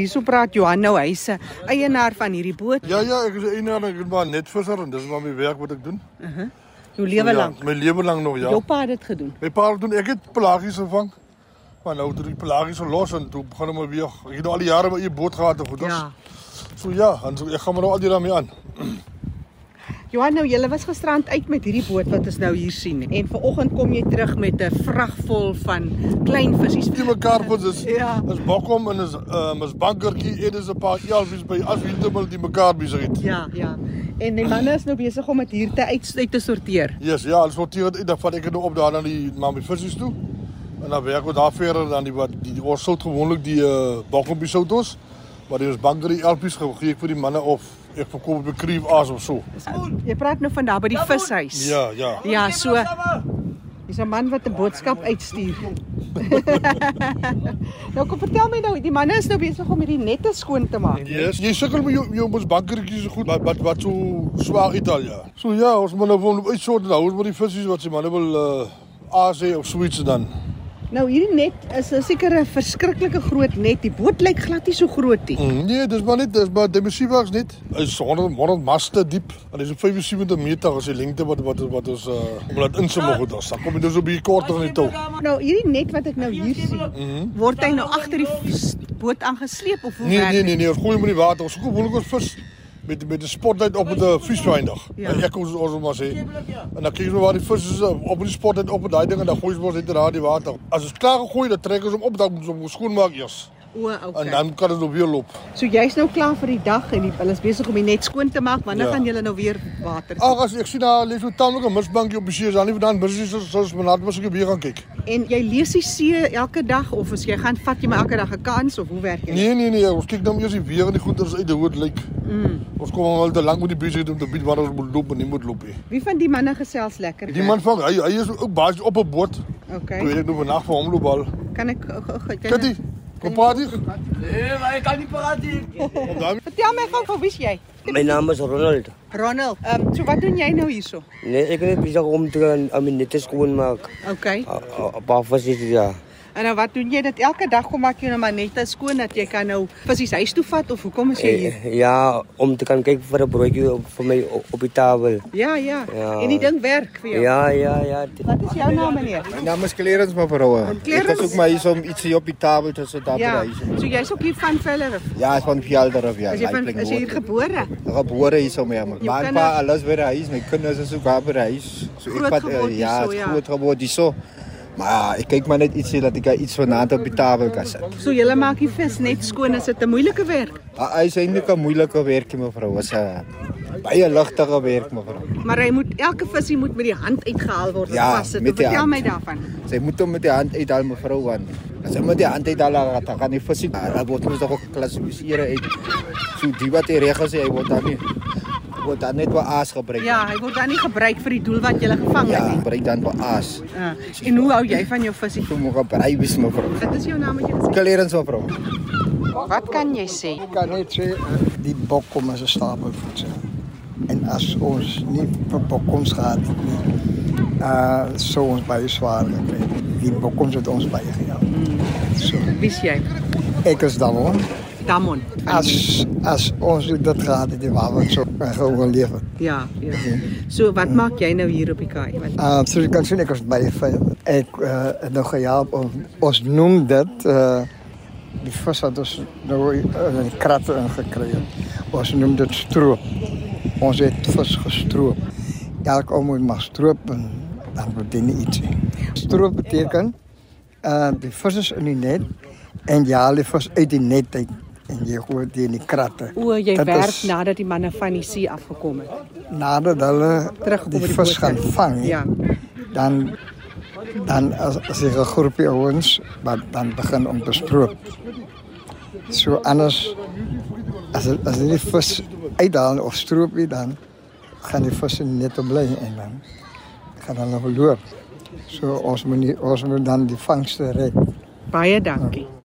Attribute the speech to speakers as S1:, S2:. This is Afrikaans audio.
S1: Hierso praat Johan nou hyse eienaar van hierdie boot.
S2: Ja ja, ek is 'n eienaar, ek is maar net visser en dis maar my werk wat ek doen.
S1: Jou lewe lank.
S2: Ja, my lewe lank nog ja.
S1: Jou pa het dit gedoen.
S2: My pa doen ek het pelagies gevang. Maar nou het ek pelagies gelos en toe begin hom maar weer. Ek het nou al die jare met 'n boot gehad en goeders.
S1: Ja.
S2: So ja, en so, ek gaan maar nou al die daarmee aan.
S1: Johan nou jy was gisterand uit met hierdie boot wat ons nou hier sien en vanoggend kom jy terug met 'n vrag vol van klein visse.
S2: Die mekaar vir is
S1: Ja.
S2: is bokkom en is ehm is bankertjie en is 'n paar elfies by as wie dubbel die mekaar besig het.
S1: Ja, ja. En die manne is nou besig om dit hier te uit, uit te sorteer.
S2: Yes, ja, ons sorteer dit uit, dan vat ek dit nou op daar na die na my visse toe. En dan werk ons daar verder dan die wat die, die ons sout gewoonlik die uh, bokkompie soutos. Maar die is banker die elfies gegee ek vir die manne of ek verkoop by Kreef Aas of so.
S1: Jy praat nou van daar by die vishuis.
S2: Ja, ja.
S1: Ja, so. Dis 'n man wat 'n boodskap uitstuur. nou kom vertel my nou, die manne is nou besig om hierdie nette skoon te maak.
S2: Yes. Jy sukkel met jou jou mos bankertjies so goed wat wat wat so swaar Italië. So ja, ons moet nou van uitsort nou, ons moet die visse wat se manne wil uh, aas hê of Switse dan.
S1: Nou hierdie net is 'n sekere verskriklike groot net. Die boot lyk glad nie so groot nie.
S2: Mm, Nee, dis maar net, dis maar dimensiewags net. Hy's 100 100 maste diep. En dis op 75 meter as die lengte wat wat wat ons uh wat insimmer goed ons. Dan kom jy dus op hier korter in die tou.
S1: Nou hierdie net wat ek nou hier sien, word hy nou agter die s- boot aangesleep of hoe
S2: Nee,
S1: werk
S2: nee,
S1: dit?
S2: nee, nee, ons gooi hom in die water. Ons koop hoekom ons vis met met 'n spotlight op met 'n visveindag.
S1: Ja.
S2: Ja. En ek ons ons maar sê. En dan kyk ons waar die vis is uh, op die spotlight op en daai ding en dan gooi ons mos net in daardie water. As ons klaar gegooi, dan trek ons hom op, dan moet ons hom skoon maak eers.
S1: O,
S2: En
S1: okay.
S2: dan kan ons op weer loop.
S1: So jy's nou klaar vir die dag en die, hulle is besig om die net skoon te maak. Wanneer
S2: Ja.
S1: gaan julle nou weer water? sit?
S2: Ag, as ek sien daar lê so tamelike misbankie op die see, is dan nie vandaan busse soos ons maar laat mos ek weer gaan kyk.
S1: En jy lees die see elke dag of as jy gaan vat jy maar elke dag 'n kans of hoe werk dit?
S2: Nee nee nee, ons kyk dan eers die weer en die goeders uit hoe dit lyk. Mm. Ons kom al te lank met die besig om te bied waar ons moet loop en nie moet loop nie.
S1: Wie van die manne gesels lekker?
S2: Die man van hy hy is ook basies op 'n boot. Ek weet
S1: Okay.
S2: ek nog vandag vir hom loop al.
S1: Kan ek o- o- o- kan
S2: Kitty,
S1: ek-
S2: kom praat hier.
S3: Nee, maar ik kan niet praten. hier.
S2: Kom dan.
S1: Vertel my gou, gou, wie's jy?
S3: Mijn naam is Ronald.
S1: Ronald. Ehm, um, so wat doen jy nou hierso?
S3: Nee, ik ben bezig om te gaan aan mijn netten schoonmaken.
S1: Okay.
S3: A- a- Een paar visjes, ja.
S1: En nou wat doen jy dit elke dag kom maak jy nou maar net skoon dat jy kan nou visse huis toe vat of hoekom is jy hier?
S3: Eh, Ja, om te gaan kijken voor een broodje op- voor mij o- op die tafel.
S1: Ja, ja.
S3: Ja.
S1: En die ding werk vir jou.
S3: Ja, ja, ja.
S1: Wat is jou naam meneer?
S4: Mijn naam Ja, is Clarence Mavaroa. Ik
S1: Clarence.
S4: was ook maar eens om iets hier op die tafel te zetten.
S1: Ja.
S4: Ja,
S1: So jy's ook hier van Veller.
S4: ja is van Fjallderhof, ja.
S1: Is jy van
S4: Ik
S1: is jy hier gebore?
S4: geboren is om ja.
S1: Je
S4: Maar een
S1: kinderen-
S4: paar alles bij de huis. Mijn kinderen zijn ook daar bij de huis. Zo,
S1: Groot
S4: wat, eh,
S1: geworden hier
S4: ja,
S1: zo,
S4: het is
S1: ja.
S4: groot geworden is zo. Maar ja, ik kijk maar net iets hier dat ik daar iets van naad op die tafel kan zetten.
S1: So jy maak die vis net skoon as dit 'n moeilike werk.
S4: Ah, Hij is eigenlijk een moeilijke werk, mevrouw. Het is een baie luchtige werk, mevrouw.
S1: Maar hy moet elke visie moet met die hand uitgehaal word en
S4: Ja,
S1: vassit.
S4: met die
S1: Vertel
S4: hand.
S1: my daarvan.
S4: Zij moet hem met de hand uithalen, mevrouw. Want als hij met de hand uithalen gaat, dan gaan die vissen. Hij wordt ons toch ook klassificeren. uit. Zo die wat hij regels, hij wordt dan niet. Wordt dan net wel aas gebruikt.
S1: Ja, hy word dan nie gebruik vir die doel wat jy gevang het
S4: Ja,
S1: nie.
S4: gebruik dan wel aas.
S1: Ja. En hoe hou jy van jou visie?
S4: Zo moet gebruikt is, mevrouw.
S1: Wat is jou naam wat jy gesê?
S4: Klerens, mevrouw.
S1: het? Wat kan jy sê?
S5: Ik kan niet zeggen, eh, die bok komt als een stapelvoet. zijn. En als ons niet voor bokkomst gaat, eh zo ons bij je zwaar gekregen. Die bokkomst heeft ons bij je gehaald. Zo.
S1: Wie's jy?
S5: Ik is dan hoor.
S1: Damon.
S5: Als, als ons ook dat gaat, dan waren we zo en gewoon leven.
S1: Ja, ja. So wat maak jy nou hier op die kaai? Want
S5: Eh, zoals je kan zien, ik was bij je veel. Ik eh, heb nog gejaagd, of- ons noemt dat. eh, die vis had ons nou in een krat gekregen. Ons noemt het stroop. Ons heeft vis gestroop. Elk oom moet maar stropen, dan betekent iets. Stroop betekent, eh, die vis is in die net en je haalt die vis uit die net uit. En je gooit die in die kratten.
S1: o, jy
S5: Dat
S1: werk
S5: is-
S1: nadat die manne van die see afgekom het.
S5: nadat hulle
S1: Terug op
S5: die
S1: die
S5: vis
S1: boot
S5: gaan
S1: uit.
S5: vang,
S1: Ja.
S5: dan dan as, as jy 'n groepie ouens wat dan begin om te stroop. So anders as as jy die vis uithaal of stroop jy dan gaan die visse net op bly en dan gaan hulle verloor. So ons moet nie, ons moet dan die vangste red.
S1: Baie dankie.